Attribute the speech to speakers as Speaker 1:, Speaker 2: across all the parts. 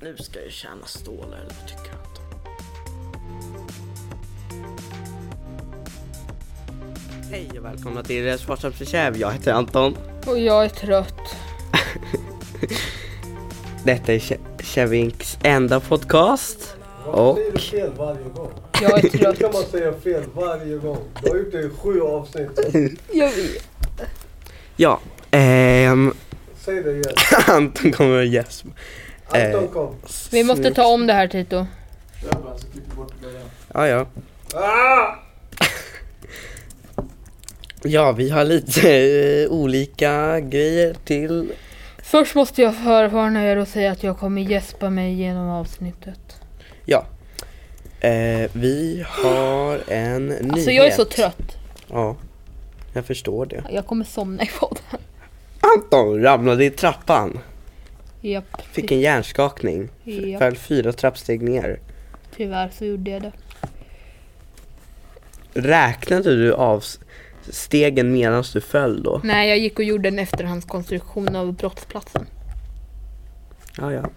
Speaker 1: nu ska jag tjäna stålar, det tycker jag inte. Hej och välkomna till eh, Smartsamt för Tjäv. Jag heter Anton.
Speaker 2: Och jag är trött.
Speaker 1: Detta är Tje- Tjevinks enda podcast. Och
Speaker 3: Säger du fel varje gång?
Speaker 2: Jag är
Speaker 3: Hur kan man
Speaker 2: trött.
Speaker 3: säga fel varje gång? Du har gjort det i sju avsnitt.
Speaker 2: jag vet.
Speaker 1: ja, ehm,
Speaker 3: Säg det igen.
Speaker 1: Anton kommer att gäspa.
Speaker 3: Anton kom.
Speaker 2: Vi måste ta om det här Tito.
Speaker 1: Ja, ja.
Speaker 3: Ah!
Speaker 1: Ja, vi har lite eh, olika grejer till.
Speaker 2: Först måste jag förvarna er och säga att jag kommer gäspa mig genom avsnittet.
Speaker 1: Eh, vi har en nyhet.
Speaker 2: Alltså jag är så trött.
Speaker 1: Ja, jag förstår det.
Speaker 2: Jag kommer somna i podden.
Speaker 1: Anton ramlade i trappan.
Speaker 2: Japp,
Speaker 1: Fick en hjärnskakning.
Speaker 2: Ja.
Speaker 1: Föll fyra trappsteg ner.
Speaker 2: tyvärr så gjorde jag det.
Speaker 1: Räknade du av s- stegen medan du föll då?
Speaker 2: Nej, jag gick och gjorde en efterhandskonstruktion av brottsplatsen.
Speaker 1: Ja, ja.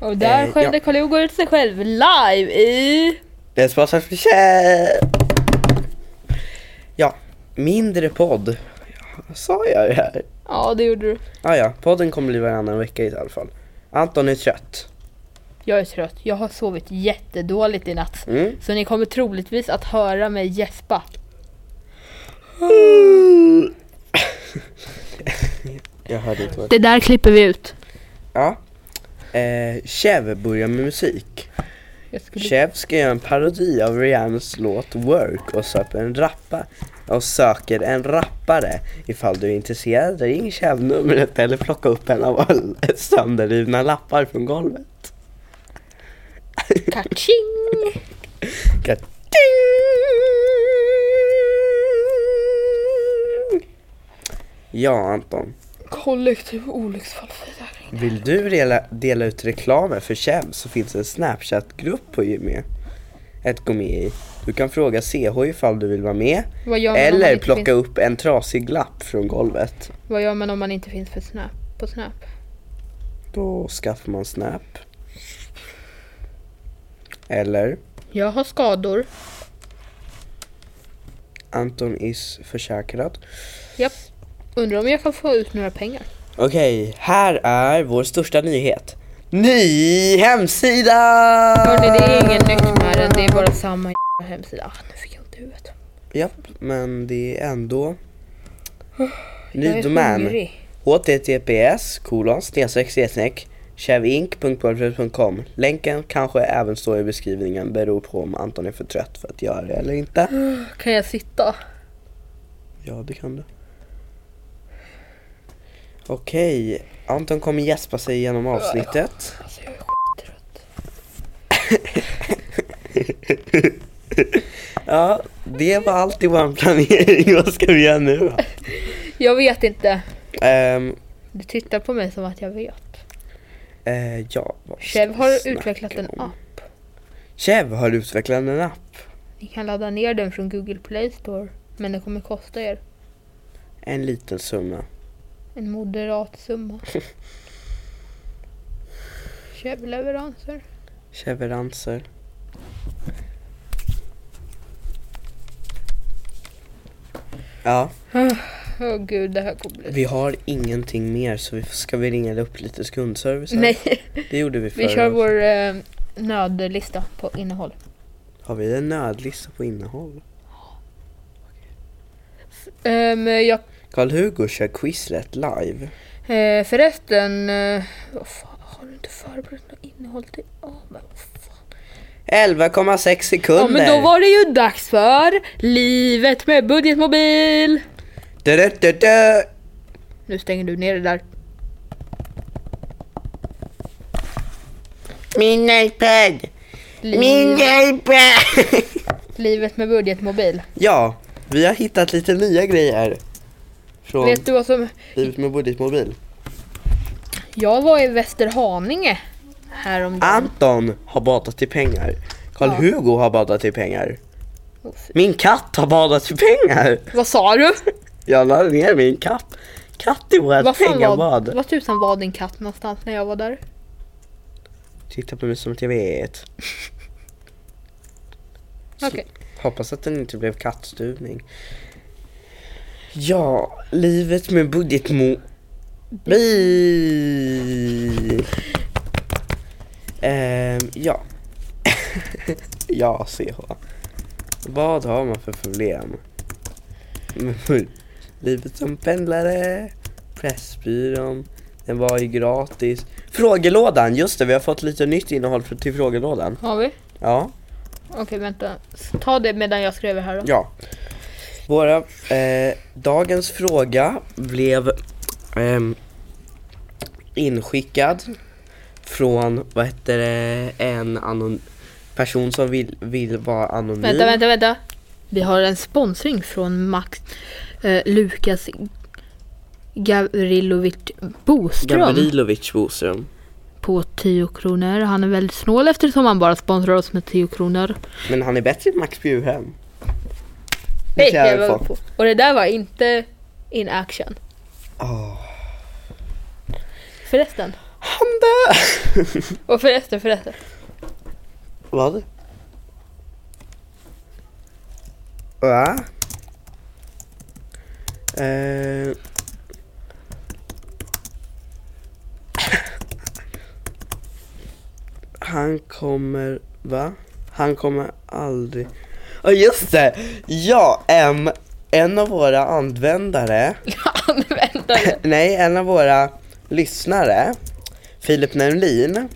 Speaker 2: Och
Speaker 1: Eh,
Speaker 2: där
Speaker 1: ja.
Speaker 2: skällde Karl-Hugo ut sig själv live i...
Speaker 1: Det är sponsrat för tjej! Ja, mindre podd. Ja, Sa jag det här?
Speaker 2: Ja, det gjorde du.
Speaker 1: Ah, ja, podden kommer bli varannan vecka i alla fall. Anton är trött.
Speaker 2: Jag är trött. Jag har sovit jättedåligt i natt.
Speaker 1: Mm.
Speaker 2: Så ni kommer troligtvis att höra mig gäspa.
Speaker 1: Jag hörde inte vad
Speaker 2: Det där klipper vi ut.
Speaker 1: Ja. Eh, Chev börjar med musik.
Speaker 2: Jag skulle...
Speaker 1: Chev ska göra en parodi av Rihannas låt Work och söker en rappa och söker en rappare. Ifall du är intresserad, ring Chev-numret eller plocka upp en av alla sönderrivna lappar från golvet.
Speaker 2: Kaching!
Speaker 1: Ka-ting! Ja, Anton.
Speaker 2: Kollektiv olycksfallsförsäkring.
Speaker 1: Vill du dela, dela ut reklamen för Chev så finns en Snapchat-grupp på Gymmet att gå med i. Du kan fråga CH ifall du vill vara med
Speaker 2: Vad gör man om man
Speaker 1: eller
Speaker 2: inte
Speaker 1: plocka
Speaker 2: finns...
Speaker 1: upp en trasig lapp från golvet.
Speaker 2: Vad gör man om man inte finns för snap? på Snap?
Speaker 1: Då skaffar man Snap. Eller
Speaker 2: Jag har skador.
Speaker 1: Anton is försäkrad.
Speaker 2: Japp. Undrar om jag kan få ut några pengar.
Speaker 1: Okej, här är vår största nyhet. Ny hemsida!
Speaker 2: Hörni, det är inget nytt med den. Det är bara samma jävla hemsida. Ah, nu fick jag ont i huvudet.
Speaker 1: Ja, men det är ändå...
Speaker 2: Jag
Speaker 1: Ny
Speaker 2: är
Speaker 1: domän.
Speaker 2: hungrig.
Speaker 1: https kolon snedstreck snedstreck chevinc.wordpress.com Länken kanske även står i beskrivningen beror på om Anton är för trött för att göra det eller inte.
Speaker 2: Kan jag sitta?
Speaker 1: Ja, det kan du. Okej, Anton kommer gäspa sig genom avsnittet.
Speaker 2: Alltså jag är skittrött.
Speaker 1: Ja, det var allt i vår planering. Vad ska vi göra nu då?
Speaker 2: Jag vet inte.
Speaker 1: Ehm,
Speaker 2: Du tittar på mig som att jag vet.
Speaker 1: eh, ja, vad ska
Speaker 2: Chev
Speaker 1: vi
Speaker 2: har
Speaker 1: snacka
Speaker 2: utvecklat en
Speaker 1: om?
Speaker 2: app.
Speaker 1: Chev har utvecklat en app.
Speaker 2: Ni kan ladda ner den från Google Play Store. Men det kommer kosta er
Speaker 1: En liten summa.
Speaker 2: en moderat summa. Köp leveranser.
Speaker 1: Cheveranser. Ja,
Speaker 2: Åh gud, det här kommer bli...
Speaker 1: vi har ingenting mer så vi ska vi ringa upp lite skundservice. här?
Speaker 2: Nej,
Speaker 1: Det gjorde vi förra
Speaker 2: vi kör
Speaker 1: gången.
Speaker 2: vår eh, nödlista på innehåll.
Speaker 1: Har vi en nödlista på innehåll?
Speaker 2: Ehm, jag,
Speaker 1: Karl-Hugo kör Quizlet live.
Speaker 2: eh, förresten, eh, vad fan, har du inte förberett något innehåll till... Oh, men vad fan.
Speaker 1: 11,6 sekunder!
Speaker 2: Ja men då var det ju dags för Livet med budgetmobil!
Speaker 1: Du, du, du, du.
Speaker 2: Nu stänger du ner det där.
Speaker 1: Min iPad!
Speaker 2: Liv-
Speaker 1: Min iPad!
Speaker 2: Livet med budgetmobil.
Speaker 1: ja, vi har hittat lite nya grejer. Från
Speaker 2: Vet du vad som...
Speaker 1: Livet med budgetmobil.
Speaker 2: Jag var i Västerhaninge häromdagen.
Speaker 1: Anton har badat i pengar. Karl Hugo har badat i pengar.
Speaker 2: Åh, fy.
Speaker 1: Min katt har badat i pengar.
Speaker 2: Vad sa du?
Speaker 1: Jag la ner min katt. Katt i vårt
Speaker 2: Vad, fan var,
Speaker 1: pengabad.
Speaker 2: vad tusan var din katt någonstans när jag var där?
Speaker 1: Titta på mig som att jag vet. Så-
Speaker 2: Okej.
Speaker 1: Hoppas att den inte blev kattstuvning. Ja, livet med budgetmo... Bi. Ehm, ja. ja, CH. Vad har man för problem? Mm, livet som pendlare, Pressbyrån, den var ju gratis. Frågelådan, just det, vi har fått lite nytt innehåll för, till frågelådan.
Speaker 2: Har vi?
Speaker 1: Ja.
Speaker 2: Okej, vänta. Ta det medan jag skriver här då.
Speaker 1: Ja. Våra, eh, dagens fråga blev ehm, inskickad från, vad heter det, en anon- person som vill, vill vara anonym.
Speaker 2: Vänta, vänta, vänta. Vi har en sponsring från Max eh, Lukas Gavrilovic Boström
Speaker 1: Gabrilovic Boström.
Speaker 2: på 10 kronor. Han är väldigt snål eftersom han bara sponsrar oss med 10 kronor.
Speaker 1: Men han är bättre än Max Bjurhem. Det
Speaker 2: Nej,
Speaker 1: kan jag
Speaker 2: jag var
Speaker 1: få.
Speaker 2: på. Och det där var inte in action.
Speaker 1: Åh.
Speaker 2: Förresten.
Speaker 1: Han dör!
Speaker 2: Och förresten, förresten.
Speaker 1: Vad? Va? Eh. Han kommer... Va? Han kommer aldrig... Ja just det! Ja, em, en av våra användare
Speaker 2: Han väntade.
Speaker 1: Nej, en av våra lyssnare, Filip Nerlin.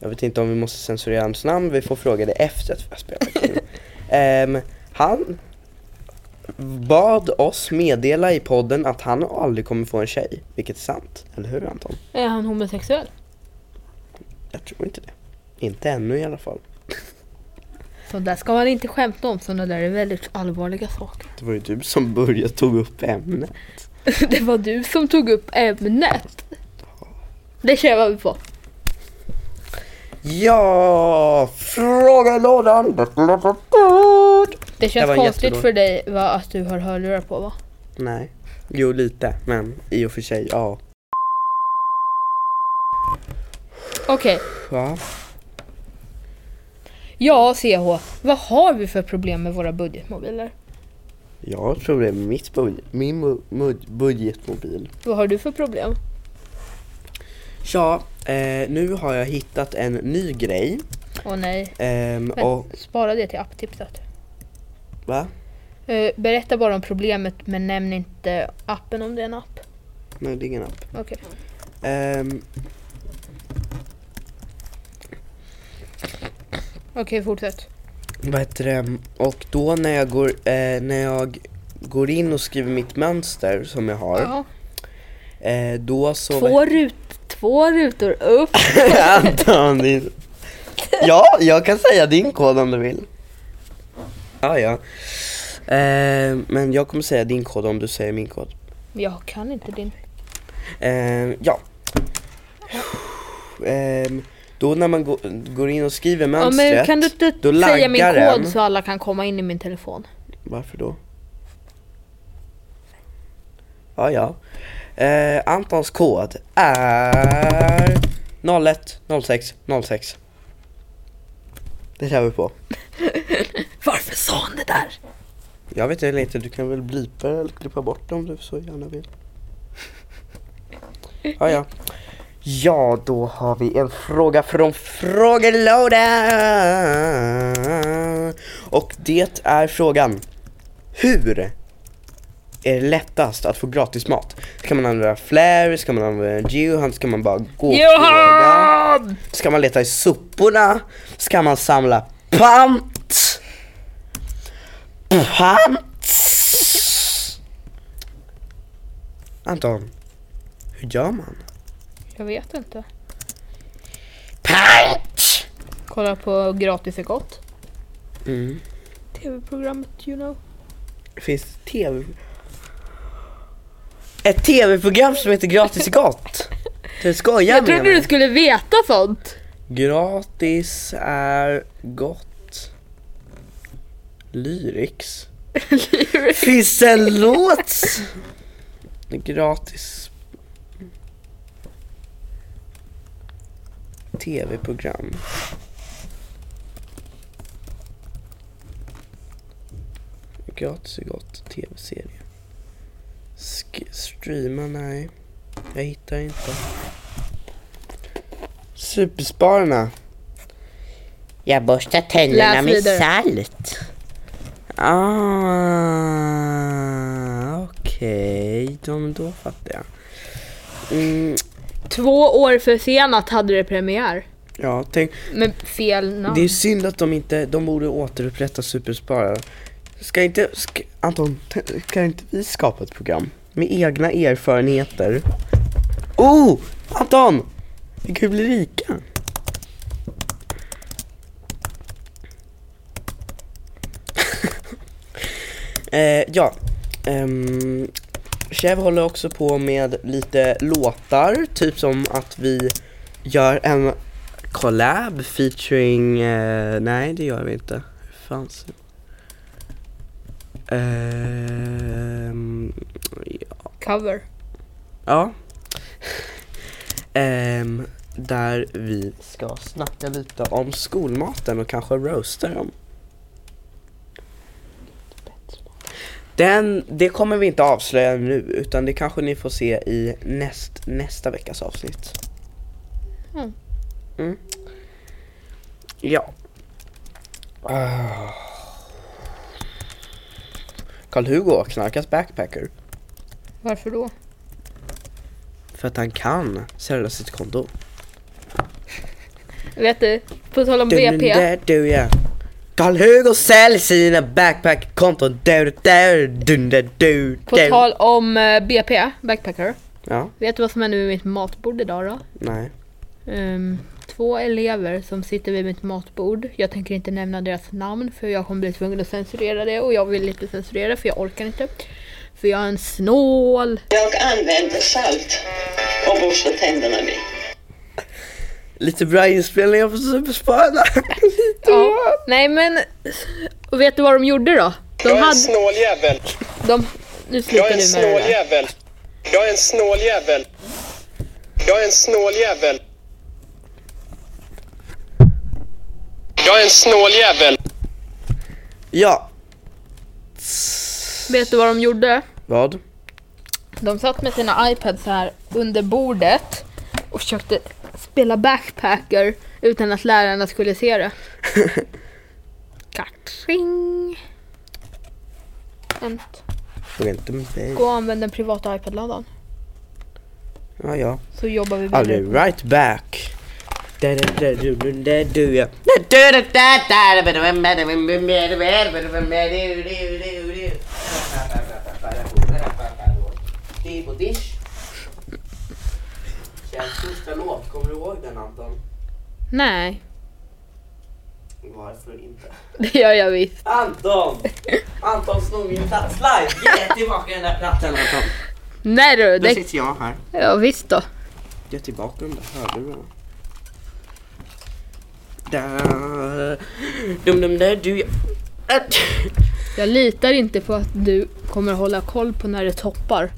Speaker 1: Jag vet inte om vi måste censurera hans namn, vi får fråga det efter att vi har spelat in. Ehm, han bad oss meddela i podden att han aldrig kommer få en tjej, vilket är sant. Eller hur Anton?
Speaker 2: Är han homosexuell?
Speaker 1: Jag tror inte det. Inte ännu i alla fall.
Speaker 2: Så där ska man inte skämta om, sådana där är väldigt allvarliga saker.
Speaker 1: Det var ju du som började tog upp ämnet.
Speaker 2: Det var du som tog upp ämnet. Det kör vi på.
Speaker 1: Ja, frågelådan!
Speaker 2: Det
Speaker 1: Det
Speaker 2: känns
Speaker 1: var
Speaker 2: konstigt
Speaker 1: jättedåligt.
Speaker 2: för dig va, att du har hörlurar på va?
Speaker 1: Nej. Jo, lite, men i och för sig, ja.
Speaker 2: Okej,
Speaker 1: Ja.
Speaker 2: ja CH, vad har vi för problem med våra budgetmobiler?
Speaker 1: Jag har ett problem med mitt budget, min mu- mud- budgetmobil.
Speaker 2: Vad har du för problem?
Speaker 1: Ja, eh, nu har jag hittat en ny grej.
Speaker 2: Åh nej,
Speaker 1: Ehm,
Speaker 2: Men-
Speaker 1: och,
Speaker 2: spara det till apptipset.
Speaker 1: va?
Speaker 2: Eh, berätta bara om problemet men nämn inte appen om det är en app.
Speaker 1: Nej, det är ingen app.
Speaker 2: Okej.
Speaker 1: Ehm,
Speaker 2: Okej, fortsätt.
Speaker 1: vad heter det? Och då när jag, går, eh, när jag går in och skriver mitt mönster som jag har,
Speaker 2: Ja.
Speaker 1: eh, då så...
Speaker 2: Två, rut två rutor upp.
Speaker 1: Anton, din... Ja, jag kan säga din kod om du vill. Ja, ja. Eh, men jag kommer säga din kod om du säger min kod.
Speaker 2: Jag kan inte din.
Speaker 1: Ehm, ja. Ehm, då när man gå, går in och skriver
Speaker 2: Ja,
Speaker 1: mönstret.
Speaker 2: men kan du
Speaker 1: då
Speaker 2: inte säga min
Speaker 1: laggar den.
Speaker 2: kod så alla kan komma in i min telefon?
Speaker 1: Varför då? Ja, ja. Eh, Antons kod är 010606. Det kör vi på.
Speaker 2: Varför sa han det där?
Speaker 1: Jag vet heller inte, du kan väl blipa eller klippa bort det om du så gärna vill. Ja, ja. Ja, då har vi en fråga från frågelådan. Och det är frågan. Hur är det lättast att få gratis mat? Ska man använda Flair? Ska man använda Geohunt? Ska man bara gå och fråga?
Speaker 2: Johan!
Speaker 1: Ska man leta i soporna? Ska man samla pant? Pant? Anton, hur gör man?
Speaker 2: Jag vet inte.
Speaker 1: Pant!
Speaker 2: Kolla på Gratis är gott.
Speaker 1: Mm.
Speaker 2: TV-programmet you know.
Speaker 1: Finns det tv? Ett tv-program som heter Gratis är gott? Du skojar
Speaker 2: Jag
Speaker 1: med
Speaker 2: trodde du
Speaker 1: mig?
Speaker 2: skulle veta sånt.
Speaker 1: Gratis är gott. Lyrics. Finns det en låt? Gratis. tv-program. Gratis är gott, tv-serie. Sk- streama? Nej. Jag hittar inte. Superspararna. Jag borstar tänderna
Speaker 2: Läs
Speaker 1: med
Speaker 2: vidare.
Speaker 1: salt. Ah, okej. Okay. Då, men då fattar jag. Mm,
Speaker 2: Två år försenat hade det premiär.
Speaker 1: ja, tänk.
Speaker 2: Med fel namn.
Speaker 1: Det är synd att de inte, de borde återupprätta Supersparare. Ska inte, sk, Anton, t- kan inte vi skapa ett program? Med egna erfarenheter. Oh! Anton! Vi kan ju bli rika. eh, ja. Um, Chev håller också på med lite låtar, typ som att vi gör en collab featuring, eh, nej det gör vi inte. Hur fan ser Ehm,
Speaker 2: Cover.
Speaker 1: ja. Ehm, där vi ska snacka lite om skolmaten och kanske roasta dem. Den, det kommer vi inte avslöja nu utan det kanske ni får se i näst, nästa veckas avsnitt.
Speaker 2: Mm.
Speaker 1: Mm. Ja. Ah. Karl-Hugo, knarkas backpacker.
Speaker 2: Varför då?
Speaker 1: För att han kan sälja sitt konto.
Speaker 2: Vet du, på tal om
Speaker 1: Du,
Speaker 2: BP.
Speaker 1: du, du, ja. Karl-Hugo säljer sina backpack-konton. Du, du, du, du, du,
Speaker 2: På
Speaker 1: du.
Speaker 2: tal om eh, BP, backpacker.
Speaker 1: Ja,
Speaker 2: Vet du vad som hände vid mitt matbord idag då?
Speaker 1: nej.
Speaker 2: Ehm, två elever som sitter vid mitt matbord. Jag tänker inte nämna deras namn för jag kommer bli tvungen att censurera det och jag vill inte censurera för jag orkar inte. För jag är en snål.
Speaker 4: Jag använder salt och borstar tänderna med.
Speaker 1: Lite bra inspelningar på Superspararna.
Speaker 2: Ja. Nej men, och vet du vad de gjorde då? De
Speaker 5: Jag är en
Speaker 2: hade...
Speaker 5: snål jävel.
Speaker 2: De, nu slutar
Speaker 5: Jag är en
Speaker 2: du med
Speaker 5: snål
Speaker 2: det där.
Speaker 5: jävel. Jag är en snål jävel. Jag är en snål jävel. Jag är en snål jävel.
Speaker 1: ja.
Speaker 2: Vet du vad de gjorde?
Speaker 1: Vad?
Speaker 2: De satt med sina iPads så här under bordet och försökte spela backpacker utan att lärarna skulle se det. Katsching! Skämt.
Speaker 1: Fråga inte mig.
Speaker 2: Gå och använd den privata iPad-laddan
Speaker 1: Ja, ja.
Speaker 2: så jobbar vi vidare.
Speaker 1: I'll be right back. Da, da, da, du, du, da, du, ja. Kjells första låt, kommer du ihåg den Anton?
Speaker 2: Nej,
Speaker 1: Varför inte?
Speaker 2: det gör jag visst.
Speaker 1: Anton! Anton snor min plats live! Ge tillbaka den där plattan Anton!
Speaker 2: Nej du,
Speaker 1: Nu
Speaker 2: det...
Speaker 1: sitter jag här.
Speaker 2: Ja visst då.
Speaker 1: Ge tillbaka de där hörlurarna. Där. Dum dum där du. Äh, Ett.
Speaker 2: Jag litar inte på att du kommer hålla koll på när det toppar.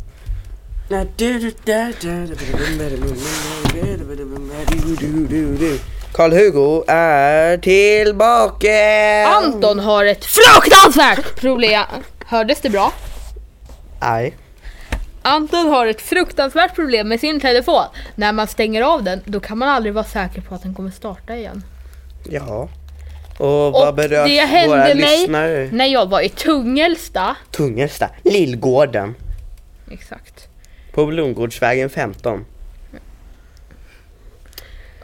Speaker 1: Där, du, du, där, där, där, dum, där, dum, dum, där, där, dum, där, du, du, du, du. Karl-Hugo är tillbaka!
Speaker 2: Anton har ett fruktansvärt problem. Hördes det bra?
Speaker 1: Nej.
Speaker 2: Anton har ett fruktansvärt problem med sin telefon. När man stänger av den, då kan man aldrig vara säker på att den kommer starta igen.
Speaker 1: Ja. Och vad
Speaker 2: Och
Speaker 1: berörs
Speaker 2: det hände
Speaker 1: våra
Speaker 2: mig-
Speaker 1: lyssnare?
Speaker 2: När jag var i Tungelsta,
Speaker 1: Tungelsta, Lillgården.
Speaker 2: exakt,
Speaker 1: På Blomgårdsvägen 15.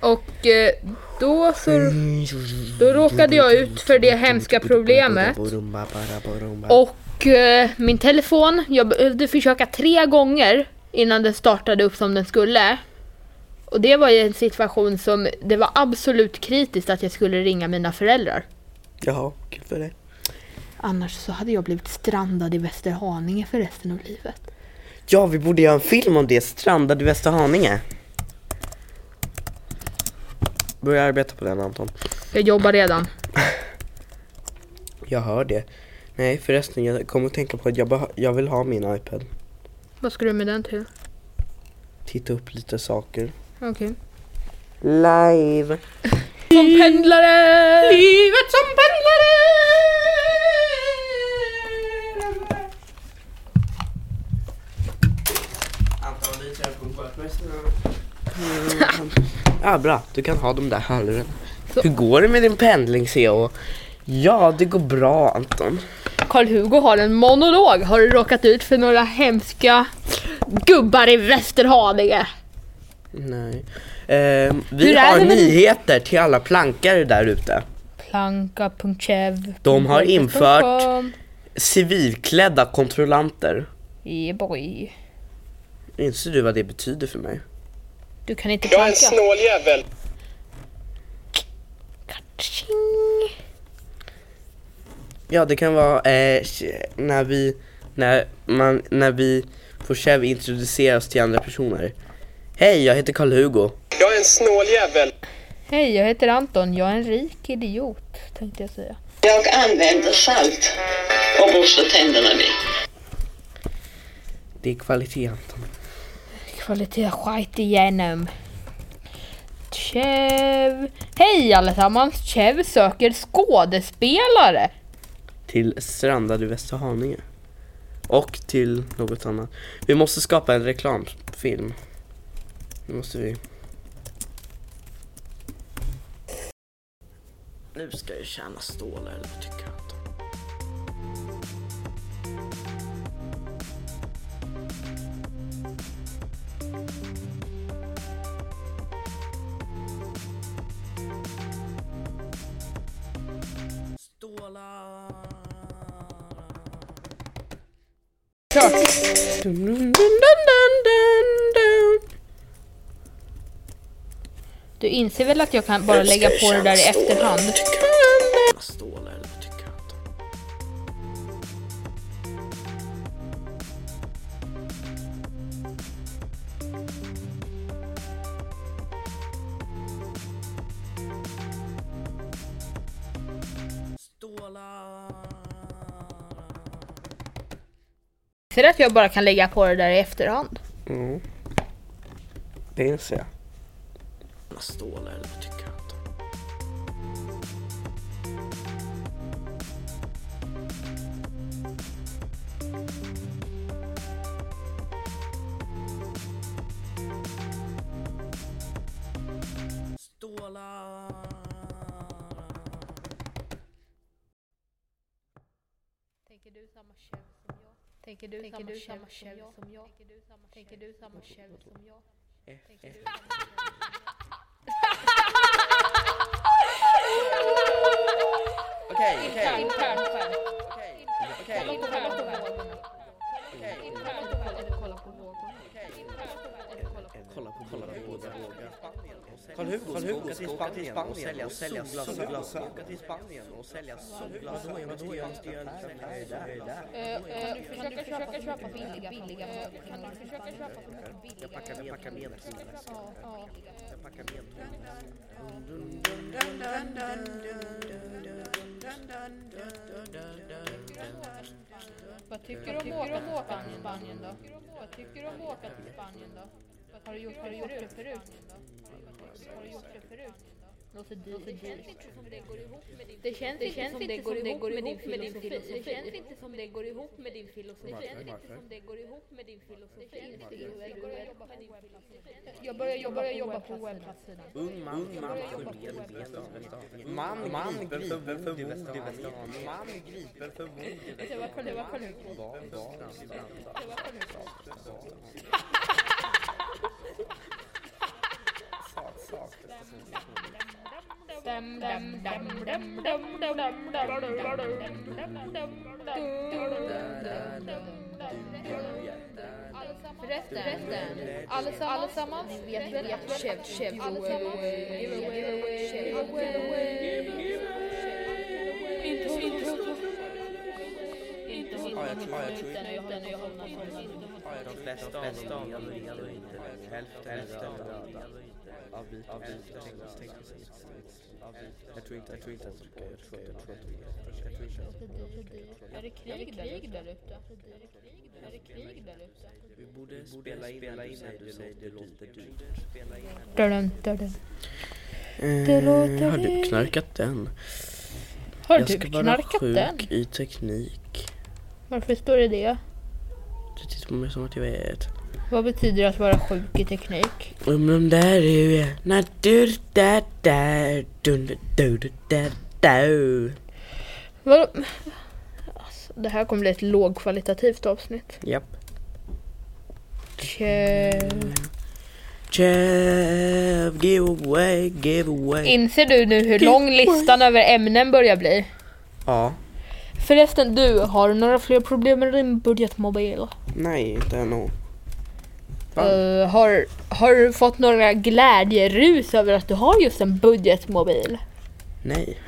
Speaker 2: och eh, då så då råkade jag ut för det hemska problemet. Och eh, min telefon, jag behövde försöka tre gånger innan den startade upp som den skulle. Och det var ju en situation som det var absolut kritiskt att jag skulle ringa mina föräldrar.
Speaker 1: Jaha, kul för dig.
Speaker 2: Annars så hade jag blivit strandad i Västerhaninge för resten av livet.
Speaker 1: Ja, vi borde göra en film om det. Strandad i Västerhaninge. Börja arbeta på den Anton.
Speaker 2: Jag jobbar redan.
Speaker 1: Jag hör det. Nej förresten, jag kommer att tänka på att jag, beh- jag vill ha min iPad.
Speaker 2: Vad ska du med den till?
Speaker 1: Titta upp lite saker.
Speaker 2: Okej.
Speaker 1: live.
Speaker 2: Som pendlare!
Speaker 6: Livet som pendlare!
Speaker 1: Anton, vi kör på Ja, Mm. Ah, bra. Du kan ha de där hörlurarna.
Speaker 2: Så.
Speaker 1: Hur går det med din pendling, CH? Ja, det går bra, Anton.
Speaker 2: Karl-Hugo har en monolog. Har du råkat ut för några hemska gubbar i Västerhaninge?
Speaker 1: Nej. Ehm, vi
Speaker 2: Hur är
Speaker 1: har
Speaker 2: det med-
Speaker 1: nyheter till alla plankare där ute.
Speaker 2: Planka.chev.
Speaker 1: De har infört- Civilklädda kontrollanter.
Speaker 2: Yeah boy.
Speaker 1: Inser du vad det betyder för mig?
Speaker 2: Du kan inte
Speaker 5: Jag är en
Speaker 2: planka.
Speaker 5: snåljävel.
Speaker 2: Katsching.
Speaker 1: Ja, det kan vara eh, när vi när man när vi på Chev introduceras till andra personer. Hej, jag heter Karl-Hugo.
Speaker 5: Jag är en snåljävel.
Speaker 2: Hej, jag heter Anton. Jag är en rik idiot, tänkte jag säga.
Speaker 4: Jag använder salt och borstar tänderna med.
Speaker 1: Det är kvalitet, Anton.
Speaker 2: Kvalitet skit igenom. Chev. Hej allesammans! Chev söker skådespelare.
Speaker 1: Till strandade Västerhaninge. Och till något annat. Vi måste skapa en reklamfilm. Nu måste vi. Nu ska jag tjäna stålar, det tycker jag inte.
Speaker 2: Klart.
Speaker 1: Dun, dun, dun, dun, dun, dun.
Speaker 2: Du inser väl att jag kan bara lägga på det där i efterhand?
Speaker 1: Stålar, det tycker jag inte.
Speaker 2: Ser du att jag bara kan lägga på det där i efterhand?
Speaker 1: Mm. Det inser jag. Stålar, det tycker jag inte.
Speaker 6: Tänker du samma tjuv som jag? Tänker du samma tjuv som jag? Tänker du samma tjuv som jag?
Speaker 1: Okej, okej, okej. Kolla på kolla på båda vågorna. Karl-Hugo ska åka till Spanien och sälja solglasögon. Åka till Spanien och sälja solglasögon. Vadå, vadå, jag måste göra en grej där. Jag packar med, packar med en solglasögon. Jag packar med en
Speaker 6: Vad tycker du om att åka till Spanien då? Vad tycker du om att åka till Spanien då? Har du gjort har du gjort det förut? Har du gjort det förut? Låter dyrt. Det känns inte som det går ihop med din Det känns inte som det går ihop med din filosofi. Det känns inte som det går ihop med din filosofi. Det känns inte som det går ihop med din filosofi. Det känns inte som det går ihop med din filosofi. Jag börjar jobba, jag jobbar på webbplatssidan.
Speaker 1: Ung man, ung man, förmed, vet om. Man, man, gripen för mord i Västerhaninge. Man, gripen för mord i
Speaker 6: Det var Karl-Hugo. Det var Karl-Hugo.
Speaker 1: Västerhaninge.
Speaker 6: Dum, dum, dum, dum, dum, dum, dum, dum, dum, dum, dum, dum, dum, dum, dum. Förresten, allesammans vet väl att Chev Chev
Speaker 1: Ja, jag tror jag tror De flesta av dem är inte Hälften är döda. avbryt, avbryt, tänk oss, tänk oss, Jag tror inte, jag tror inte att de kan, jag tror inte, jag tror inte, jag tror inte.
Speaker 2: Är det krig där ute? Är det krig där ute?
Speaker 1: Vi borde spela in när du säger det låter- det låter dyrt.
Speaker 2: Dun, dun, dun. låter
Speaker 1: har du
Speaker 2: dyrt.
Speaker 1: knarkat den?
Speaker 2: Har
Speaker 1: jag
Speaker 2: du
Speaker 1: ska vara
Speaker 2: knarkat
Speaker 1: sjuk
Speaker 2: den?
Speaker 1: i teknik.
Speaker 2: Varför står det det?
Speaker 1: Du tittar på mig som att jag vet.
Speaker 2: Vad betyder det att vara sjuk i teknik?
Speaker 1: Om de där är ju... Na du da da dun du du du da da.
Speaker 2: Vadå? Alltså, det här kommer bli ett lågkvalitativt avsnitt.
Speaker 1: Japp.
Speaker 2: Tjö.
Speaker 1: Chev, give away, give away.
Speaker 2: Inser du nu hur lång listan över ämnen börjar bli?
Speaker 1: Ja.
Speaker 2: Förresten du, har du några fler problem med din budgetmobil?
Speaker 1: Nej, inte ännu. Va?
Speaker 2: Eh, har, har du fått några glädjerus över att du har just en budgetmobil?
Speaker 1: Nej.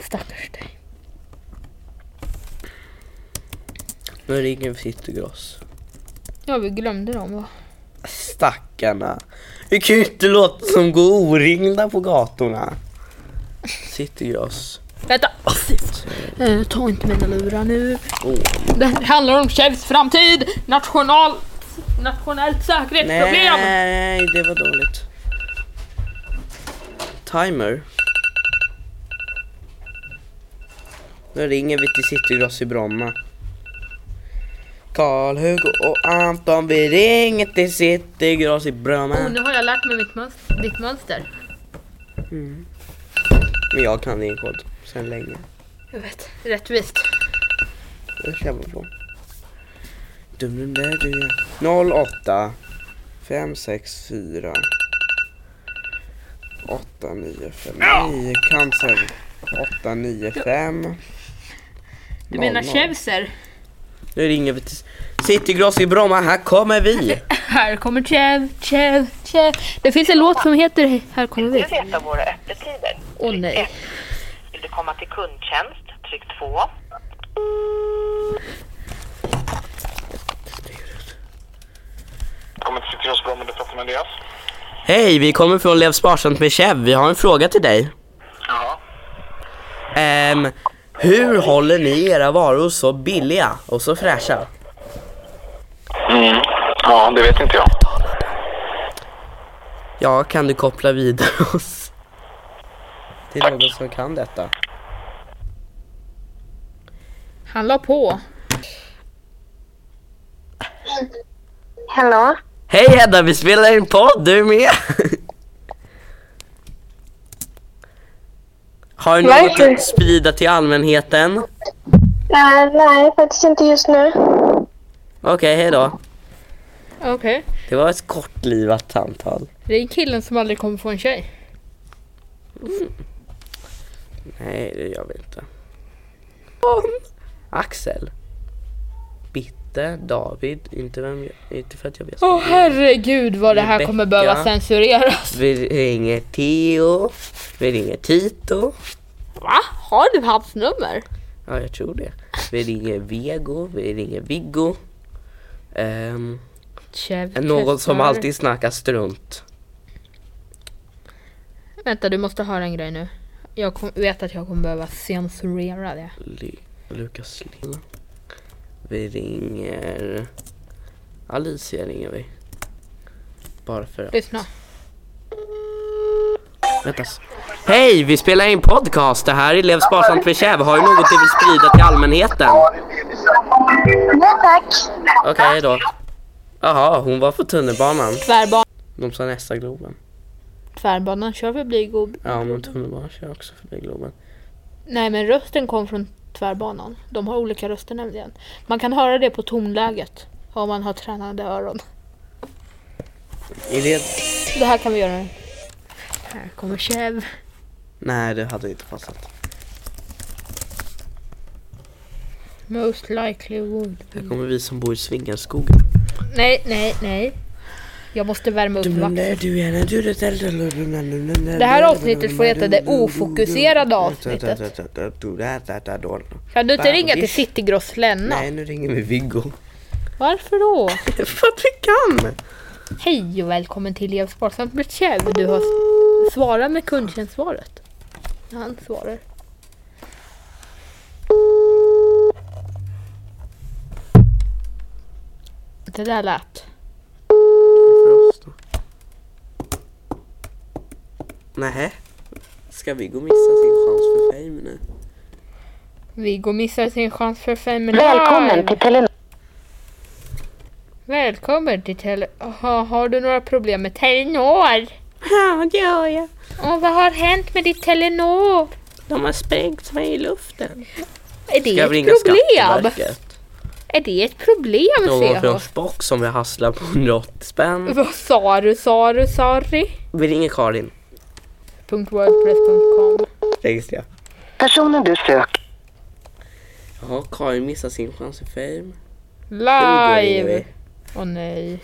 Speaker 2: Stackars dig.
Speaker 1: Nu ringer vi Citygross.
Speaker 2: Ja, vi glömde dem va?
Speaker 1: Stackarna. Vi kan ju inte låta som går oringda på gatorna. Citygross.
Speaker 2: Vänta! Eh, ta inte mina lurar nu.
Speaker 1: Åh,
Speaker 2: Det här handlar om Tjevs framtid! National, nationellt säkerhetsproblem!
Speaker 1: Nej, det var dåligt. Timer. Nu ringer vi till Citygross i Bromma. Karl-Hugo och Anton, vi ringer till Citygross i Bromma.
Speaker 2: Oh, nu har jag lärt mig mitt mönster, ditt mönster.
Speaker 1: Mm. Men jag kan din kod sen länge.
Speaker 2: Jag vet. Rättvist.
Speaker 1: Det kör vi på. Dum, dum, där, du. 08 564 8959 cancer 895
Speaker 2: Du menar Tjevser?
Speaker 1: Nu ringer vi till Citygross i Bromma, här kommer vi!
Speaker 2: Här kommer Tjev, Tjev, Tjev. Det finns en låt som heter Här kommer vi.
Speaker 7: Du vet om våra öppettider.
Speaker 2: Åh nej.
Speaker 7: Vill du komma till kundtjänst? Tryck 2.
Speaker 5: Kommer till Citygross bra med pratar med Andreas.
Speaker 1: Hej, vi kommer från Lev Sparsamt med Chev, vi har en fråga till dig.
Speaker 5: Jaha.
Speaker 1: Ehm, hur håller ni era varor så billiga och så fräscha?
Speaker 5: Mm. Ja, det vet inte jag.
Speaker 1: Ja, kan du koppla vidare oss? Till någon som kan detta.
Speaker 2: Han la på.
Speaker 8: Hallå?
Speaker 1: Hej Hedda, vi spelar in podd, du är med! Har du något
Speaker 8: Varför?
Speaker 1: att sprida till allmänheten?
Speaker 8: Äh, nej, faktiskt inte just nu.
Speaker 1: Okej, hej då.
Speaker 2: Okej.
Speaker 1: Det var ett kortlivat samtal.
Speaker 2: Det är killen som aldrig kommer få en tjej.
Speaker 1: Nej, det gör vi inte. Axel. Bitte, David, inte, vem, inte för att jag vet.
Speaker 2: Åh herregud vad det här
Speaker 1: Rebecka.
Speaker 2: kommer behöva censureras.
Speaker 1: Vi ringer Theo, vi ringer Tito.
Speaker 2: Va? Har du hans nummer?
Speaker 1: Ja, jag tror det. Vi ringer Vego, vi ringer Viggo. Ehm,
Speaker 2: Tjev,
Speaker 1: någon som
Speaker 2: testar.
Speaker 1: alltid snackar strunt.
Speaker 2: Vänta du måste höra en grej nu. Jag kom, vet att jag kommer behöva censurera det.
Speaker 1: Lu- Lukas Lill. Vi ringer... Alicia ringer vi. Bara för att...
Speaker 2: Lyssna.
Speaker 1: Vänta. s- Hej, vi spelar in podcast. Det här är Lev sparsamt med käv. Har du något du vill sprida till allmänheten?
Speaker 8: Nej tack.
Speaker 1: Okej, hej då. Jaha, hon var på tunnelbanan.
Speaker 2: Tvärban,
Speaker 1: De sa nästa Globen.
Speaker 2: tvärbanan kör förbi god...
Speaker 1: Ja, men tunnelbanan kör också förbi Globen.
Speaker 2: Nej men rösten kom från tvärbanan. De har olika röster nämligen. Man kan höra det på tonläget. Om man har tränade öron.
Speaker 1: Är det...
Speaker 2: Det här kan vi göra nu. Här kommer Chev.
Speaker 1: Nej, det hade inte passat.
Speaker 2: Most likely would.
Speaker 1: Här kommer vi som bor i Svingarskogen.
Speaker 2: Nej, nej, nej. Jag måste värma upp vaxet.
Speaker 1: Det
Speaker 2: här avsnittet får heta det ofokuserade avsnittet. Kan du inte ringa till Citygross Lennart?
Speaker 1: Nej, nu ringer vi Viggo.
Speaker 2: Varför då?
Speaker 1: För att vi kan!
Speaker 2: Hej och välkommen till Lev samt med Kjell. Du har svarat med kundtjänstsvaret. Han svarar. Det där lät.
Speaker 1: för oss då. Nähä? Ska vi gå missa sin chans för fame nu?
Speaker 2: Viggo missar sin chans för fem minuter.
Speaker 9: Välkommen till Telenor.
Speaker 2: Välkommen till Tele... Aha, har du några problem med Telenor?
Speaker 9: Ja, det gör jag.
Speaker 2: Åh, vad har hänt med ditt Telenor?
Speaker 9: De har sprängt mig i luften.
Speaker 2: Är det
Speaker 1: Ska vi
Speaker 2: ett
Speaker 1: ringa
Speaker 2: problem?
Speaker 1: Skatteverket?
Speaker 2: Är det ett problem,
Speaker 1: De har från
Speaker 2: CH?
Speaker 1: Spock som vi hasslar på 180 spänn.
Speaker 2: Vad sa du, sa du, sorry?
Speaker 1: Vi ringer Karin.
Speaker 2: .wordpress.com
Speaker 1: Registrera.
Speaker 9: Personen du söker.
Speaker 1: Ja, Karin missar sin chans för fame. Nu ringer
Speaker 2: Live!
Speaker 1: vi.
Speaker 2: Åh nej.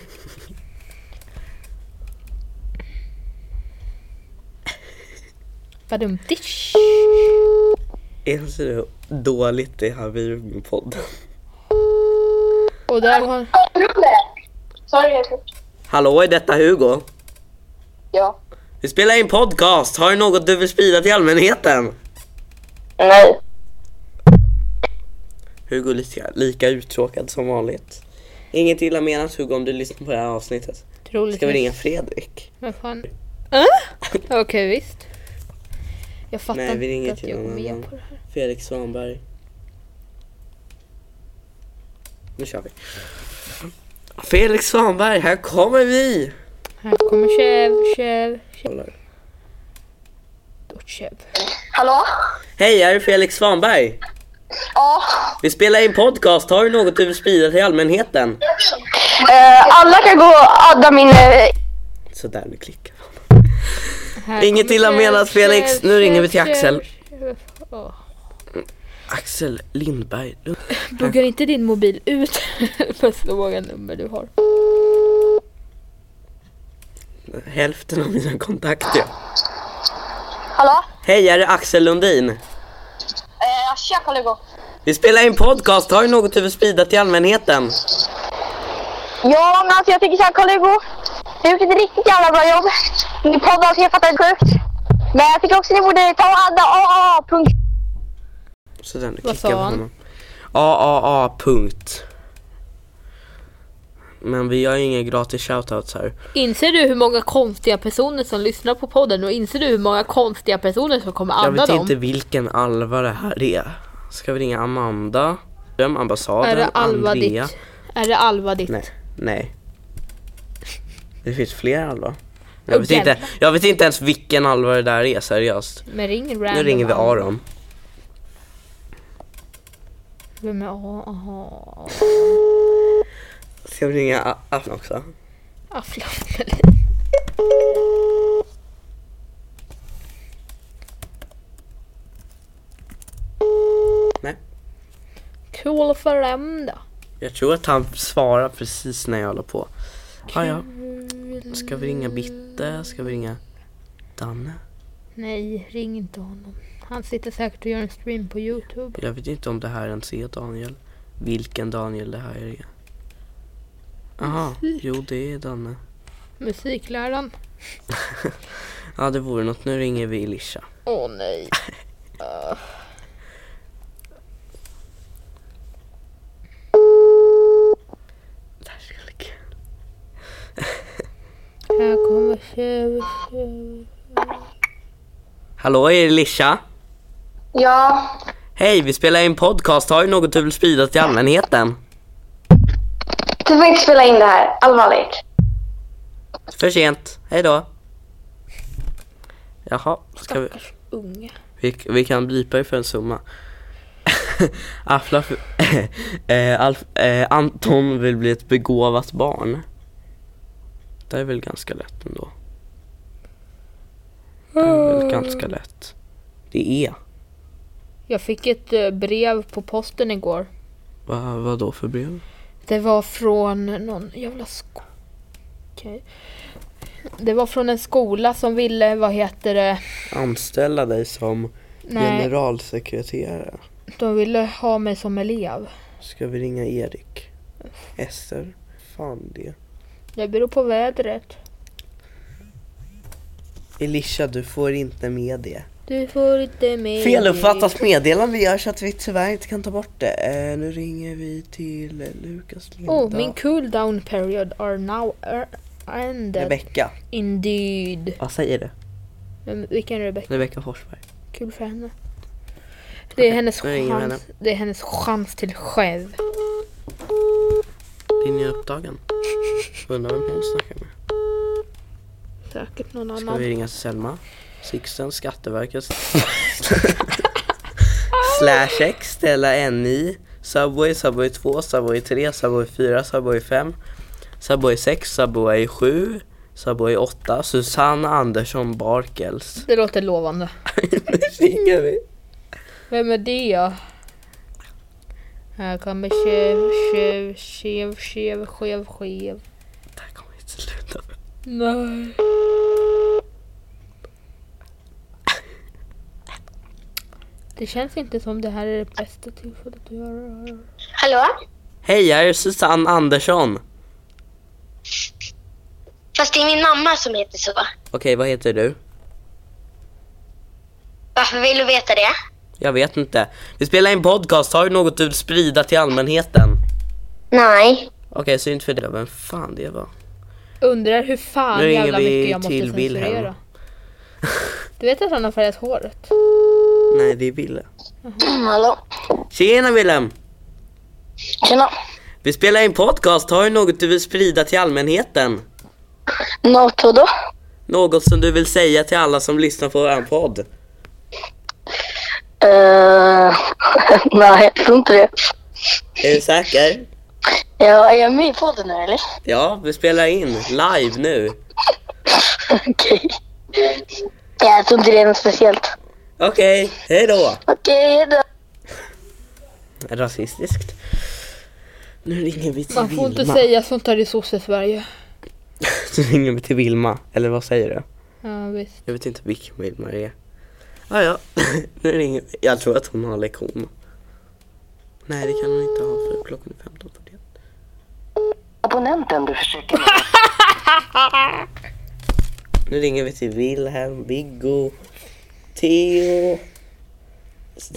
Speaker 2: Vadum dish?
Speaker 1: Inser du hur dåligt det har blivit med podden?
Speaker 2: Och där har...
Speaker 8: Sorry, jag tror-
Speaker 1: Hallå, är detta Hugo?
Speaker 9: Ja.
Speaker 1: Vi spelar in podcast. Har du något du vill sprida till allmänheten?
Speaker 9: Nej.
Speaker 1: Hugo är lika, lika uttråkad som vanligt. Inget illa menat Hugo om du lyssnar på det här avsnittet. Ska vi ringa Fredrik?
Speaker 2: Men fan... Äh? Okej, visst. Jag fattar
Speaker 1: Nej, vi ringer
Speaker 2: inte att
Speaker 1: till
Speaker 2: jag går
Speaker 1: någon
Speaker 2: med
Speaker 1: annan.
Speaker 2: på det här.
Speaker 1: Fredrik Svanberg. Nu kör vi. Felix Svanberg, här kommer vi!
Speaker 2: Här kommer Chev, Chev,
Speaker 1: Kollar.
Speaker 2: och Chev.
Speaker 8: Hallå?
Speaker 1: Hej, här är Felix Svanberg.
Speaker 8: Ja.
Speaker 1: Vi spelar in podcast. Har du något du vill sprida till allmänheten?
Speaker 9: Eh, alla kan gå och adda min... eh,
Speaker 1: Sådär, nu klickar
Speaker 2: Här
Speaker 1: Inget
Speaker 2: kommer
Speaker 1: illa
Speaker 2: Chev,
Speaker 1: menat, Felix.
Speaker 2: Chev,
Speaker 1: Nu ringer
Speaker 2: Chev,
Speaker 1: vi till
Speaker 2: Chev,
Speaker 1: Axel.
Speaker 2: Chev. Åh.
Speaker 1: Axel Lindberg.
Speaker 2: Buggar inte din mobil ut första många nummer du har?
Speaker 1: Hälften av mina kontakter.
Speaker 8: Hallå?
Speaker 1: Hej, här är Axel Lundin.
Speaker 8: Eh, tja Carl-Hugo.
Speaker 1: Vi spelar in podcast. Har du något du vill sprida till allmänheten?
Speaker 8: Ja, men alltså jag tycker såhär Carl-Hugo. Du har gjort ett riktigt jävla bra jobb. Ni poddar så jag fattar det sjukt. Men jag tycker också ni borde ta och adda AA. punkt.
Speaker 1: Sådär, nu
Speaker 2: Vad
Speaker 1: klickar vi
Speaker 2: sa han?
Speaker 1: honom. AAA punkt. Men vi har inga gratis shoutouts här.
Speaker 2: Inser du hur många konstiga personer som lyssnar på podden och inser du hur många konstiga personer som kommer
Speaker 1: Jag
Speaker 2: adda
Speaker 1: vet
Speaker 2: dem?
Speaker 1: inte vilken Alva det här är. Ska vi ringa Amanda? Vem? Ambassaden?
Speaker 2: Är det Alva
Speaker 1: Andrea?
Speaker 2: ditt? Är det Alva ditt?
Speaker 1: Nej. Nej. Det finns fler Alva. Jag
Speaker 2: Åh,
Speaker 1: vet, inte,
Speaker 2: jävlar.
Speaker 1: jag vet inte ens vilken Alva det där är seriöst.
Speaker 2: Men ring random.
Speaker 1: Nu ringer vi Aron.
Speaker 2: Vem är A- aha.
Speaker 1: Ska vi ringa A- Afton också?
Speaker 2: Aftonbladet.
Speaker 1: Nej.
Speaker 2: Cool för dem då.
Speaker 1: Jag tror att han svarar precis när jag håller på. Ah, ja. Ska vi ringa Bitte? Ska vi ringa Danne?
Speaker 2: Nej, ring inte honom. Han sitter säkert och gör en stream på Youtube.
Speaker 1: Jag vet inte om det här ens är Daniel. Vilken Daniel det här är. Aha, jo det är Danne.
Speaker 2: Musikläraren.
Speaker 1: Ja det vore något. Nu ringer vi Elisha.
Speaker 2: Åh oh, nej. Ah.
Speaker 1: Det här ska bli kul.
Speaker 2: Här kommer tjuv, tjuv.
Speaker 1: Hallå är det Elisha?
Speaker 8: Ja.
Speaker 1: Hej, vi spelar in podcast. Har du något du vill sprida till allmänheten?
Speaker 8: Du får inte spela in det här. Allvarligt.
Speaker 1: För sent. Hej då. Jaha, ska vi...
Speaker 2: Stackars unge.
Speaker 1: Vi, vi kan blipa er för en summa. Afla för, eh, Alf, eh, Anton vill bli ett begåvat barn. Det är väl ganska lätt ändå. Det är väl ganska lätt. Det är.
Speaker 2: Jag fick ett eh, brev på posten igår.
Speaker 1: Va, vad då för brev?
Speaker 2: Det var från någon jävla skola. Okej. Det var från en skola som ville, vad heter det?
Speaker 1: Anställa dig som
Speaker 2: Nej,
Speaker 1: generalsekreterare.
Speaker 2: de ville ha mig som elev.
Speaker 1: Ska vi ringa Erik? Ester? Fan det.
Speaker 2: Det beror på vädret.
Speaker 1: Elisha, du får inte med det.
Speaker 2: Du får inte med
Speaker 1: Feluppfattat meddelande gör så att vi tyvärr inte kan ta bort det. Eh, nu ringer vi till eh, Lukas Linda.
Speaker 2: Oh, min cooldown period are now er- ended.
Speaker 1: Rebecka.
Speaker 2: Indeed.
Speaker 1: Vad säger du?
Speaker 2: Vem- Vilken Rebecca?
Speaker 1: Rebecka Forsberg.
Speaker 2: Kul för henne. Det är hennes,
Speaker 1: nu ringer vi
Speaker 2: chans, det är hennes chans till själv.
Speaker 1: Din nya uppdagen. Undrar vem hon snackar med.
Speaker 2: Säkert någon
Speaker 1: Ska
Speaker 2: annan.
Speaker 1: vi ringa till Selma? Sixten, Skatteverket. Slash X, ställa NI. Subway, Subway 2, Subway 3, Subway 4, Subway 5. Subway 6, Subway 7. Subway 8, Susanne Andersson Barkels.
Speaker 2: Det låter lovande.
Speaker 1: nu ringer vi.
Speaker 2: Vem är det? Här kommer tjuv, tjuv, tjuv, tjuv, skev, skev.
Speaker 1: Det här kommer inte sluta.
Speaker 2: Nej. Det känns inte som det här är det bästa tillfället att göra det här.
Speaker 8: Hallå?
Speaker 1: Hej, jag är Susanne Andersson.
Speaker 8: Fast det är min mamma som heter så.
Speaker 1: Okej, vad heter du?
Speaker 8: Varför vill du veta det?
Speaker 1: Jag vet inte. Vi spelar in podcast. Har du något du vill sprida till allmänheten?
Speaker 8: Nej.
Speaker 1: Okej, så inte för det. Vem fan det var?
Speaker 2: Undrar hur fan
Speaker 1: Nu ringer
Speaker 2: jävla
Speaker 1: vi
Speaker 2: mycket jag måste
Speaker 1: till Wilhelm.
Speaker 2: censurera. Du vet att han har färgat håret?
Speaker 1: Nej, det är Wille.
Speaker 8: Hallå?
Speaker 1: Tjena Willem!
Speaker 8: Tjena.
Speaker 1: Vi spelar in podcast. Har du något du vill sprida till allmänheten?
Speaker 8: Något då?
Speaker 1: Något som du vill säga till alla som lyssnar på vår podd?
Speaker 8: Uh, nej, jag tror inte det.
Speaker 1: Är du säker?
Speaker 8: Ja, är jag med i podden nu eller?
Speaker 1: Ja, vi spelar in live nu.
Speaker 8: Okej. Jag tror inte det är något speciellt.
Speaker 1: Okej, hej då!
Speaker 8: Okej, hejdå.
Speaker 1: Rasistiskt. Nu ringer vi till
Speaker 2: Man får
Speaker 1: Vilma.
Speaker 2: inte säga sånt här i sosse-Sverige.
Speaker 1: Så ringer vi till Vilma, eller vad säger du?
Speaker 2: Ja, visst.
Speaker 1: Jag vet inte vilken Vilma det är. Ah, ja, nu ringer vi. Jag tror att hon har lektion. Nej, det kan hon inte ha för klockan är 15.41.
Speaker 4: Abonnenten du försöker nå
Speaker 1: Nu ringer vi till Wilhelm, Viggo, Theo.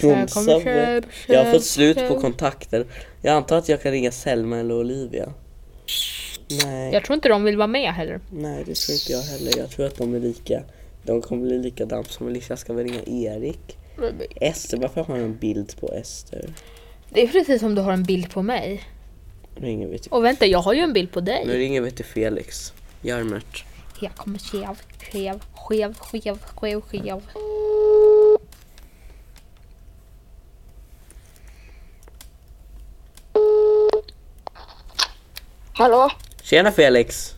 Speaker 2: Här kommer
Speaker 1: Subway.
Speaker 2: köp,
Speaker 1: Jag har
Speaker 2: köp,
Speaker 1: fått slut på
Speaker 2: köp.
Speaker 1: kontakter. Jag antar att jag kan ringa Selma eller Olivia. Nej,
Speaker 2: Jag tror inte de vill vara med heller.
Speaker 1: nej det tror inte jag heller. Jag tror att de är lika. De kommer bli lika damp som Elisha. Ska vi ringa Erik? Ester, varför har jag en bild på Ester?
Speaker 2: Det är precis som du har en bild på mig.
Speaker 1: Nu ringer vi till,
Speaker 2: Och vänta, jag har ju en bild på
Speaker 1: nu
Speaker 2: dig.
Speaker 1: ringer vi till Felix. Jarmert.
Speaker 2: Jag kommer skev, skev, skev, skev, skev, skev.
Speaker 8: Hallå?
Speaker 1: Tjena Felix!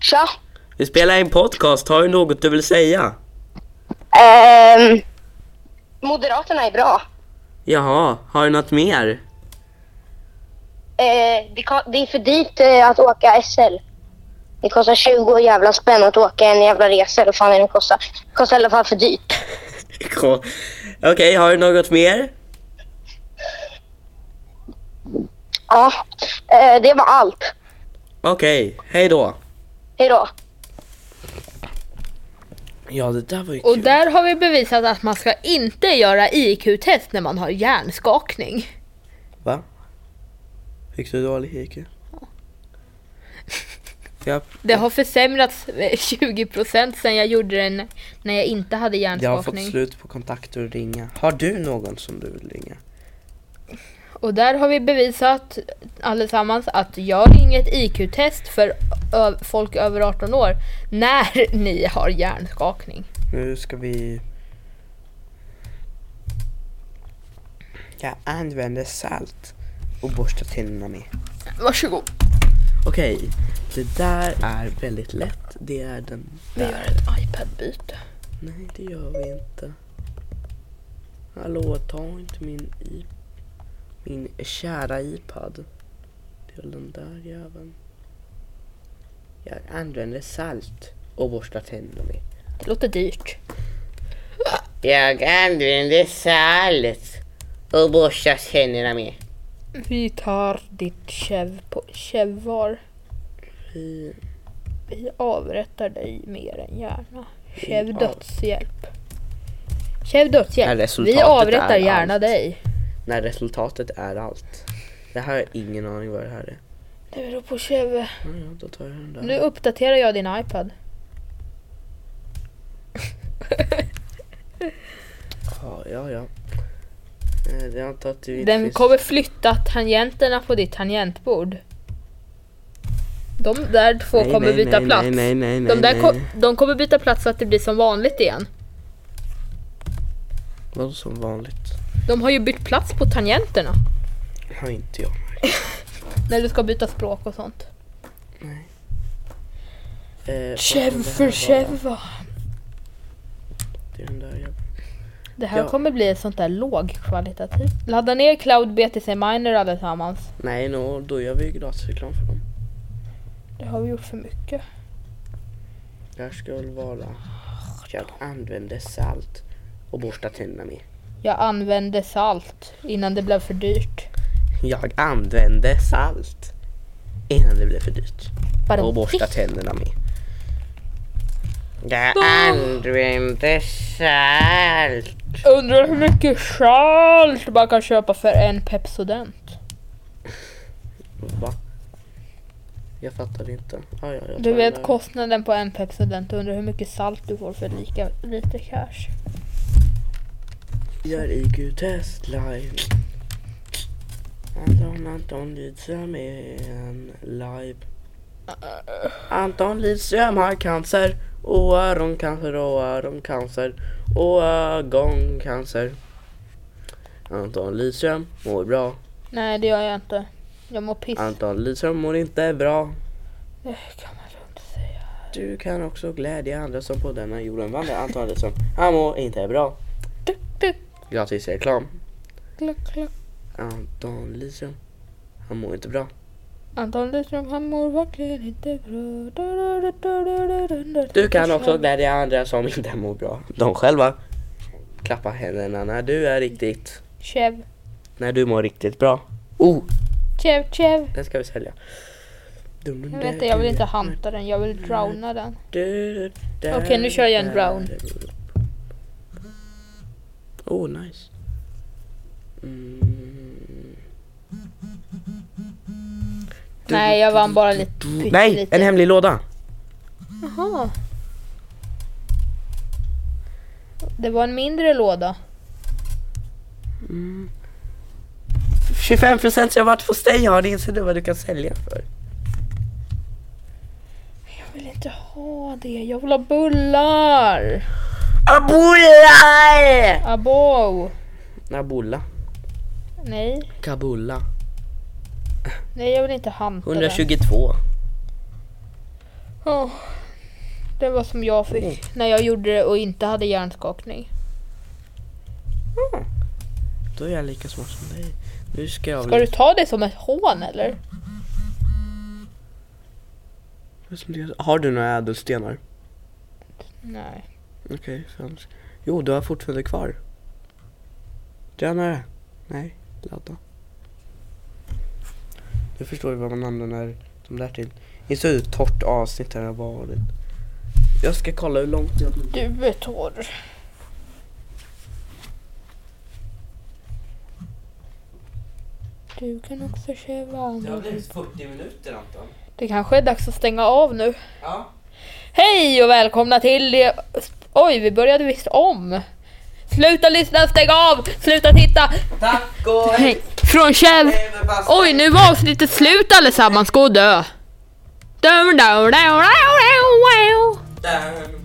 Speaker 8: Tja.
Speaker 1: Vi spelar in podcast. Har du något du vill säga?
Speaker 8: Ehm, Moderaterna är bra.
Speaker 1: Jaha, har du något mer?
Speaker 8: Eh, det, ko- det är för dyrt eh, att åka SL. Det kostar 20 jävla spänn att åka en jävla resa eller vad fan är det den kostar. Det kostar i alla fall för dyrt.
Speaker 1: Okej, har du något mer?
Speaker 8: Ja, eh, det var allt.
Speaker 1: Okej, hej då.
Speaker 8: Hej då.
Speaker 1: Ja, det där var ju
Speaker 2: Och
Speaker 1: kul.
Speaker 2: där har vi bevisat att man ska inte göra IQ-test när man har hjärnskakning.
Speaker 1: Va? Fick du dålig IQ? Jag,
Speaker 2: Det har försämrats med 20% sen jag gjorde den när jag inte hade
Speaker 1: jag har fått
Speaker 2: hjärnskakning.
Speaker 1: slut på kontakter att ringa. Har du någon som du vill ringa?
Speaker 2: Och där har vi bevisat allesammans att gör inget IQ-test för ö- folk över 18 år när ni har hjärnskakning.
Speaker 1: Nu ska vi... Jag använder salt och borstar tänderna med.
Speaker 2: Varsågod.
Speaker 1: Okej, det där är väldigt lätt. Det är den
Speaker 2: Vi gör ett iPad-byte.
Speaker 1: Nej, det gör vi inte. Hallå, ta inte min i... Min kära iPad. Det är väl den där jäveln. Jag använder salt och borstar tänderna med.
Speaker 2: Det låter dyrt.
Speaker 1: Jag använder salt och borstar tänderna med.
Speaker 2: Vi tar ditt käv på kävvar.
Speaker 1: Vi
Speaker 2: Vi avrättar dig mer än gärna. Kräv dödshjälp. Kräv
Speaker 1: Är
Speaker 2: dödshjälp.
Speaker 1: resultatet
Speaker 2: Vi avrättar
Speaker 1: är
Speaker 2: gärna
Speaker 1: allt?
Speaker 2: dig.
Speaker 1: När resultatet är allt. Det här har jag ingen aning vad det här är.
Speaker 2: Det beror på Cheve.
Speaker 1: Ja, ja, då tar jag den där.
Speaker 2: Nu uppdaterar jag din iPad.
Speaker 1: Ja, ja, ja. Eh, Jag antar att du inte
Speaker 2: Den
Speaker 1: finns-
Speaker 2: kommer flytta tangenterna på ditt tangentbord. De där två
Speaker 1: Nej,
Speaker 2: kommer
Speaker 1: nej,
Speaker 2: byta
Speaker 1: nej,
Speaker 2: plats.
Speaker 1: Nej, nej, nej, nej,
Speaker 2: de, där
Speaker 1: nej.
Speaker 2: ko- de kommer byta plats så att det blir som vanligt igen.
Speaker 1: Vadå som vanligt?
Speaker 2: De har ju bytt plats på tangenterna.
Speaker 1: Har inte jag.
Speaker 2: När du ska byta språk och sånt.
Speaker 1: Eh, vad kan
Speaker 2: Chev
Speaker 1: det här
Speaker 2: för
Speaker 1: vara?
Speaker 2: cheva.
Speaker 1: Det är den där jag...
Speaker 2: Det här
Speaker 1: Ja.
Speaker 2: kommer bli ett sånt där lågkvalitativt. Ladda ner Cloud BTC Miner allesammans.
Speaker 1: Nej, nå, då gör vi gratisreklam för dem.
Speaker 2: Det har vi gjort för mycket.
Speaker 1: Det här ska väl vara... Jag använder salt och borstar tänderna med.
Speaker 2: Jag använde salt innan det blev för dyrt.
Speaker 1: Jag använde salt innan det blev för dyrt.
Speaker 2: Bara
Speaker 1: Och borsta tänderna med. Jag använde salt.
Speaker 2: Undrar hur mycket salt man kan köpa för en Pepsodent.
Speaker 1: Va? Jag fattar inte. Ah, ja, jag tar
Speaker 2: Du
Speaker 1: den
Speaker 2: vet
Speaker 1: där.
Speaker 2: kostnaden på en Pepsodent och undrar hur mycket salt du får för lika lite cash.
Speaker 1: Gör IQ-test live. Anton, Anton Lidström är en live. Anton Lidström har cancer och öroncancer och öroncancer och ögoncancer. Anton Lidström mår bra.
Speaker 2: Nej det gör jag inte. Jag mår piss.
Speaker 1: Anton Lidström mår inte bra.
Speaker 2: Det kan man lugnt säga.
Speaker 1: Du kan också glädja andra som på denna jorden vandrar. Anton Lidström, han mår inte bra.
Speaker 2: Tuk, tuk,
Speaker 1: Gratis reklam.
Speaker 2: kluck, kluck.
Speaker 1: Anton Lidström, han mår inte bra.
Speaker 2: Anton Lidström han mår verkligen inte bra. Da, da, da, da, da, da, da, da.
Speaker 1: Du kan också glädja andra som inte mår bra. De själva. Klappa händerna när du är riktigt,
Speaker 2: Chev,
Speaker 1: när du mår riktigt bra. Oh,
Speaker 2: chev, chev.
Speaker 1: den ska vi sälja. Dum, dum,
Speaker 2: Jag
Speaker 1: där,
Speaker 2: vet inte, jag vill
Speaker 1: dum,
Speaker 2: inte
Speaker 1: där,
Speaker 2: hanta den. Jag vill drowna den.
Speaker 1: du, du, där,
Speaker 2: Okej, nu kör jag en
Speaker 1: där.
Speaker 2: brown.
Speaker 1: Oh, nice. Mm.
Speaker 2: Nej jag vann bara lite.
Speaker 1: Nej,
Speaker 2: pyttelite.
Speaker 1: en hemlig låda.
Speaker 2: Jaha. Det var en mindre låda.
Speaker 1: 25% rabatt hos dig har inser du vad du kan sälja för.
Speaker 2: Jag vill inte ha det. Jag vill ha bullar.
Speaker 1: Abulla!
Speaker 2: Abow.
Speaker 1: Abulla.
Speaker 2: Nej,
Speaker 1: Kabulla.
Speaker 2: nej jag vill inte hanta den.
Speaker 1: 122.
Speaker 2: Åh, det var som jag fick när jag gjorde det och inte hade hjärnskakning.
Speaker 1: Då är jag lika smart som dig. Nu ska jag
Speaker 2: Ska du ta det som ett hån eller?
Speaker 1: Har du några ädelstenar?
Speaker 2: Nej.
Speaker 1: Okej, för annars... Jo, du har fortfarande kvar. Drönare? Nej, ladda. Du förstår ju vad man använder de där till. Inte hur torrt avsnitt det här har varit. Jag ska kolla hur långt jag...
Speaker 2: Du eh, är torr. Du kan också köra andra.
Speaker 1: 40 minuter Anton.
Speaker 2: Det kanske är dags att stänga av nu.
Speaker 1: Ja.
Speaker 2: Hej och välkomna till det... Oj, vi började visst om. Sluta lyssna, stäng av, sluta titta.
Speaker 1: Tack och
Speaker 2: Hej, från Kjell. Oj, nu var avsnittet slut allesammans, gå och dö. Dum, dum, dum, dum, dum, dum.
Speaker 1: Oj!